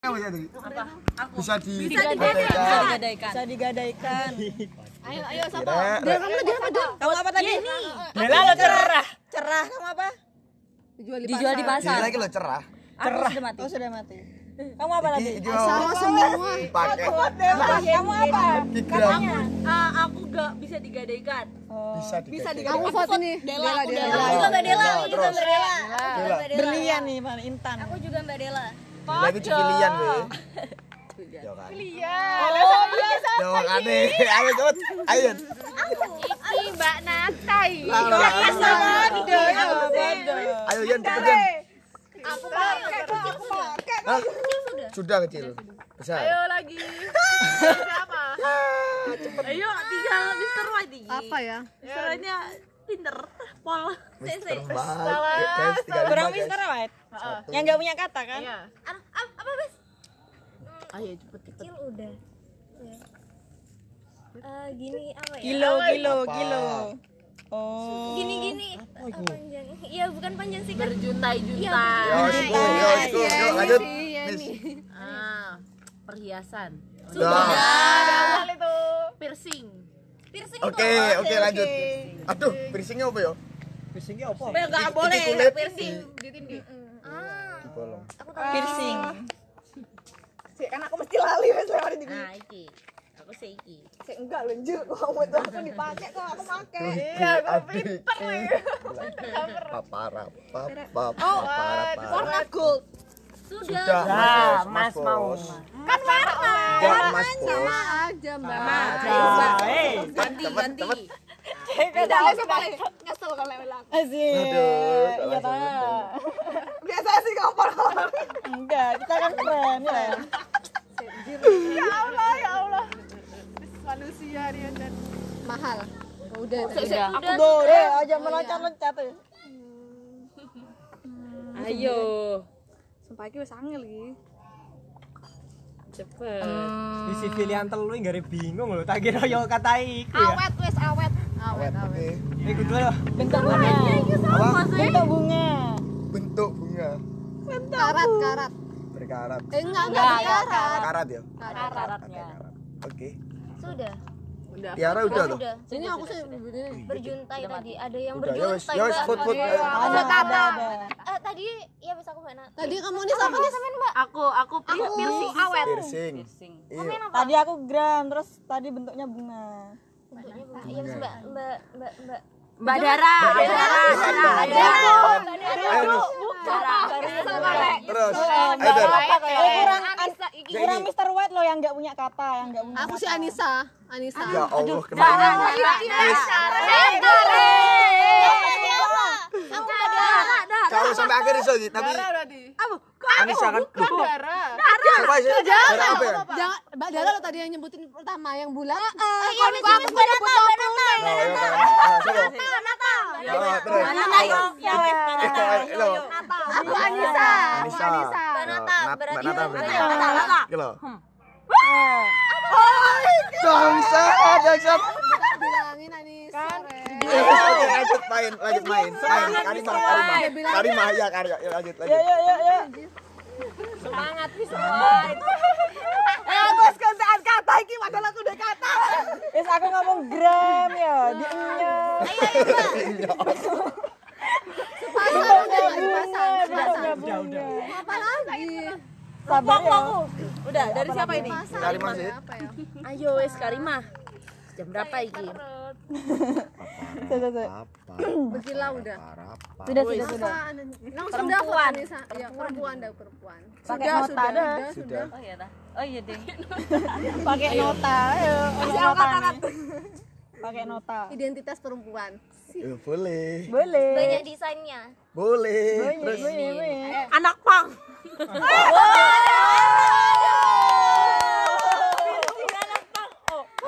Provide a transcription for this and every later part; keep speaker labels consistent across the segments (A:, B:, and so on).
A: apa ya tadi?
B: Apa? Aku.
A: Bisa di
B: Bisa digadaikan. Iya,
A: digadaikan.
B: Gadaikan.
C: Bisa digadaikan.
D: Ayo, ayo, sapa?
A: Kira
C: Kamu
B: iya,
C: apa tadi?
E: Bella lo cerah.
C: Cerah kamu apa?
D: Dijual di
B: Dijual di pasar.
A: kira lagi lo cerah.
B: Aku sudah mati.
C: Oh sudah mati. Kamu apa lagi?
A: Ini mau
D: semua.
A: dipakai.
C: Bebas, kamu apa?
A: Digram
B: Ah, aku gak bisa digadaikan.
A: bisa di. Bisa di.
D: Kamu vote ini. Dela, Dela.
B: Aku juga Mbak Dela.
A: Dela,
B: Aku juga
A: terus.
B: Mbak Dela.
A: Dela.
C: Berlian nih, Bang Intan.
B: Aku juga Mbak Dela.
A: Lagi cilian gue. Yo kan. Yo aneh. Ayo cepet. Ayo.
D: Iki Mbak Natai.
A: Lala.
C: Ada, ada.
A: Ayo Yan cepet Yan.
D: Aku pakai
A: Hah? Sudah kecil. Besar.
B: lagi. Apa? Ayo, tiga lebih seru lagi.
D: apa ya?
B: Serunya Tinder, Pol,
A: Mister Mike.
B: CC.
A: Guys, tiga lima,
C: Kurang
A: guys.
C: Mister White.
A: Satu.
C: Yang nggak punya kata kan?
B: Aduh, ap- Iya. apa bes? Ah, iya,
E: Ayo cepet cepet.
F: kecil udah Ya. Eh, gini apa ya
C: Kilo, kilo,
A: Apa?
C: kilo. Oh.
F: gini gini Eh, panjang iya bukan panjang sih kan
B: Berjuntai-juntai.
A: Yo, school, yo, school, yo, lanjut. Miss.
B: Ah, perhiasan.
A: Dah.
B: Piercing.
F: piercing
A: Oke, oke lanjut. Aduh, piercingnya apa ya?
E: Bisingnya apa?
B: Bel gak
A: Di- di
B: boleh
C: ya,
A: kulit. Ah.
B: piercing.
A: Dibolong.
C: Piercing.
B: Nah, iki. Aku seiki.
A: Iya, gue pinter nih. Papara, papara, papara.
C: gold.
A: Sudah,
E: Sudah,
A: Mas
E: Mas mau.
A: mau. Kan warna. Ya, Mas Bos.
D: Aja, Mbak.
E: Eh,
B: Ganti,
A: Teman,
B: ganti.
A: teman.
C: Beda
D: Nyesel kalau lewat.
C: Asik.
A: Aduh,
C: Iya,
A: salah
C: Pak.
D: Biasa sih kompor.
C: Enggak, kita kan keren, keren.
D: Manusia dia dan mahal. Udah, udah.
C: Aku dore aja meloncat-loncat. ya.
B: Ayo,
D: Sumpah iki wis angel iki.
B: cepet.
E: di sivilian telu ini gak bingung loh. Tak kira yo kata iku ya.
D: Awet wis awet.
A: Awet, iya, oke.
E: Iku dulu loh.
C: Bentuk bunga.
A: Apa?
C: Bentuk bunga.
A: Bentuk bunga
D: Karat, karat.
A: berkarat.
D: Eh enggak, enggak karat.
A: Karat ya?
C: Karatnya.
A: Oke.
F: sudah
A: Tiara udah loh.
D: Ini aku sih
F: berjuntai tadi ada yang
A: Udah, ya wes,
F: berjuntai
A: ya wes,
F: Mbak.
A: put, put. ayo.
C: Ada kata.
F: Eh, tadi ya bisa aku nggak nat-
D: Tadi kamu ini sama nih sama Mbak.
B: Aku, aku piercing.
D: awet.
A: Piercing. Iya.
C: Tadi aku gram, terus tadi bentuknya bunga.
F: bentuknya bunga. Iya, Mas, mbak mbak mbak mbak
B: Mbak Dara, Mbak Dara, Mbak Dara,
A: Ayo, terus. Terus. Ayo, Dan.
C: Eh, kurang, kurang Mr. White loh yang nggak punya kata, yang nggak punya
D: Aku
C: kata.
D: sih Anissa, Anissa.
A: Ya Allah, kenapa? Jauh sampai akhir iso Ji, tapi Anissa kan Loh, siapa sih? Dara apa ya?
D: Jangan, Mbak Dara lo tadi yang nyebutin pertama yang Eh, bulat.
F: oh iya Miss, Miss, Mbak Nata, Mbak Nata.
A: Nah, ayo, Kak. Ah, sudah. Ah, terus. Eh, loh.
D: Aku Anissa.
A: Anissa. Loh,
F: Nata,
A: Nat-
F: berarti
A: Mbak Nata,
F: Mbak
A: berarti.
F: Nata.
A: Iki loh. Hmm. Bangsat, bangsat.
D: Bilangin Anissa. Ren.
A: Eh, wes, oke, lanjut main, lanjut main. Main, Karimah, Karimah. Karimah, ya, Karimah. Ya, lanjut, lanjut.
C: Yo yo yo. Semangat bisa. Eh aku sekarang kata iki padahal aku udah kata. Wis aku ngomong gram ya, di nya.
D: Pasar udah nggak dipasang.
C: Bentuknya
E: Udah,
C: bunga.
E: udah.
D: Apa lagi?
C: Sabar ya.
B: Udah, dari siapa ini?
A: Karimah sih.
D: Apa ya?
B: Ayo, wes Karimah. Jam berapa iki?
C: Sudah, sudah.
D: Berkilau udah.
C: Sudah, sudah, sudah.
D: Nang sudah kok Anissa. Iya, perempuan dah perempuan.
C: Pakai nota dah.
A: Sudah.
C: Pakai nota. Ayo, ngomong nota nih. Pakai nota.
D: Identitas perempuan.
A: Eh, Boleh.
C: Boleh.
F: banyak desainnya
A: Boleh.
C: Boleh,
A: Terus.
C: boleh, boleh.
B: Anak pang.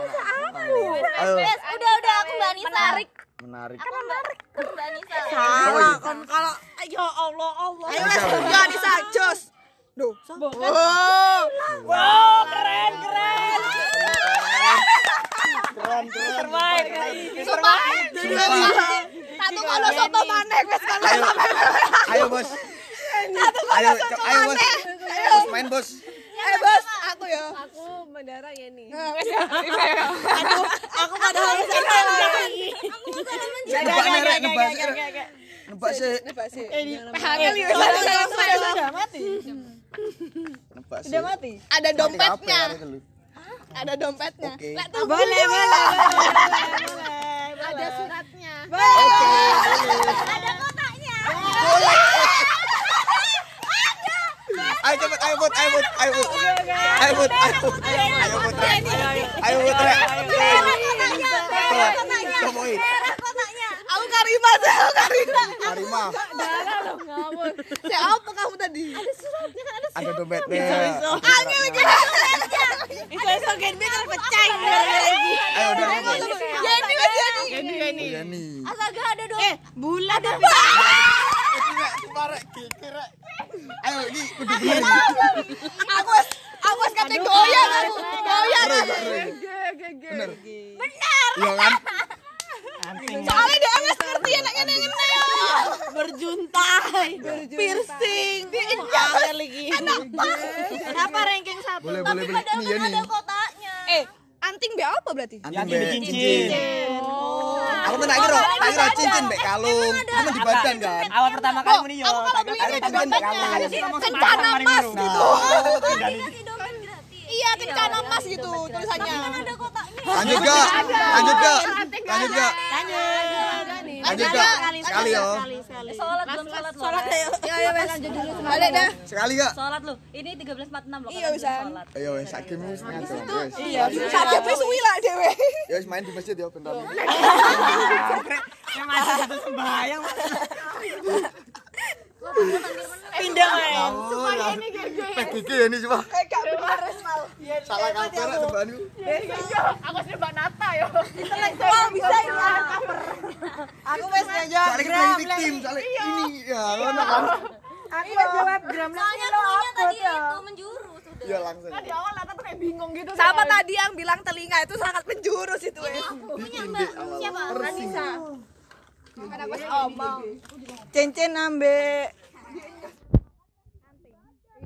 A: Ayo,
F: Yes, udah udah aku Mbak Anissa menarik
A: menarik.
F: aku Mbak aku Mbak Anissa
A: Salah,
B: Kon kalau ya Allah Allah.
C: Ayo wes, yo Anissa, jos. Duh, Oh. sombong.
A: Keren, keren.
D: Satu kalau soto maneh wis kan.
A: Ayo, ayo bos. Ayo, ayo, ayo bos. Terus main bos.
C: Eh bos, aku ya.
D: Aku mendara ya nih.
C: Aduh, aku padahal bisa lagi.
A: Nebak merek, nebak merek. Nebak sih,
D: Nebak sih.
C: Sudah, sudah, sudah mati.
A: nebak sih.
C: Sudah mati.
D: Ada dompetnya.
A: Apa yang ada lu?
D: Ada dompetnya.
A: Oke.
D: Lah,
C: Boleh, boleh, boleh, boleh.
D: Ada suratnya.
A: Ayo cepet, ayo vote, ayo vote, ayo vote. Ayo vote, ayo vote. Ayo vote, Rek. Ayo vote, Rek. Pelan, gemoy.
D: Aku Karima, saya aku Karima.
A: Karima,
D: Saya apa kamu tadi?
A: ada dompetnya. Oke, Rek. Ayo, udah,
F: Iya,
A: udah, udah.
D: Ya ini Mas Yeni.
A: Iya nih.
F: Astaga ada dong. Eh,
A: Ini, Rek, sumpah, Rek. Gigi, Rek. Ayo, ini kudu gini.
D: Aku harus- aku harus kata goyang aku. Goyang
A: Keren,
D: aku.
A: Rek, keren. Bener. Iya kan?
D: Soalnya dia nggak ngerti anaknya yang kenal.
B: berjuntai, piercing, diinjak lagi. Kenapa ranking satu?
A: Boleh, boleh, boleh. Ini ya nih.
F: ada kotaknya.
D: Eh, anting be apa berarti?
A: Anting,
E: Yakin
A: Bek.
E: bikin
A: Cincin. kan Aku menang kira, tak kira cincin Bek kalung. Cuma di badan kan.
E: Awal pertama kali ini yo.
D: Aku malah beli
A: Ada cincin Bek kalung.
D: kencana mas gitu.
F: Oh, dikasih dompet gratis.
D: Iya, kencana mas gitu tulisannya.
F: Ada kotaknya.
A: Lanjut gak? Lanjut gak? Lanjut gak? Lanjut gak?
B: Sekali,
A: Sekali ya. yo.
B: sekali.
F: Sholat belum sholat loh. Sholat
D: Ya ya wes. Balik dah.
A: Sekali gak?
F: Sholat loh. Ini 1346 loh. Iya, usah. Sholat.
A: Ayo wes, saking wes setengah jam wes.
D: Sakit wes suwi lah dewe.
A: Ya wes main di masjid ya bentar.
E: Yang masih satu sembahyang. Pindah main.
A: Supaya ini gede. Gigi ya ini cuma. Salah kabar lah sebelah ini.
D: Wah, bisa ya.
C: Aku wes jajak
A: Soalnya kita
C: gram.
A: ini tim, soalnya ini ya ngono kan.
C: Aku wes jawab gram.
F: Soalnya temunya tadi itu menjurus udah.
A: Ya langsung.
D: Sama tadi yang bilang telinga itu sangat menjurus itu wes.
A: Ditindik awal. Siapa?
C: Cincin ambek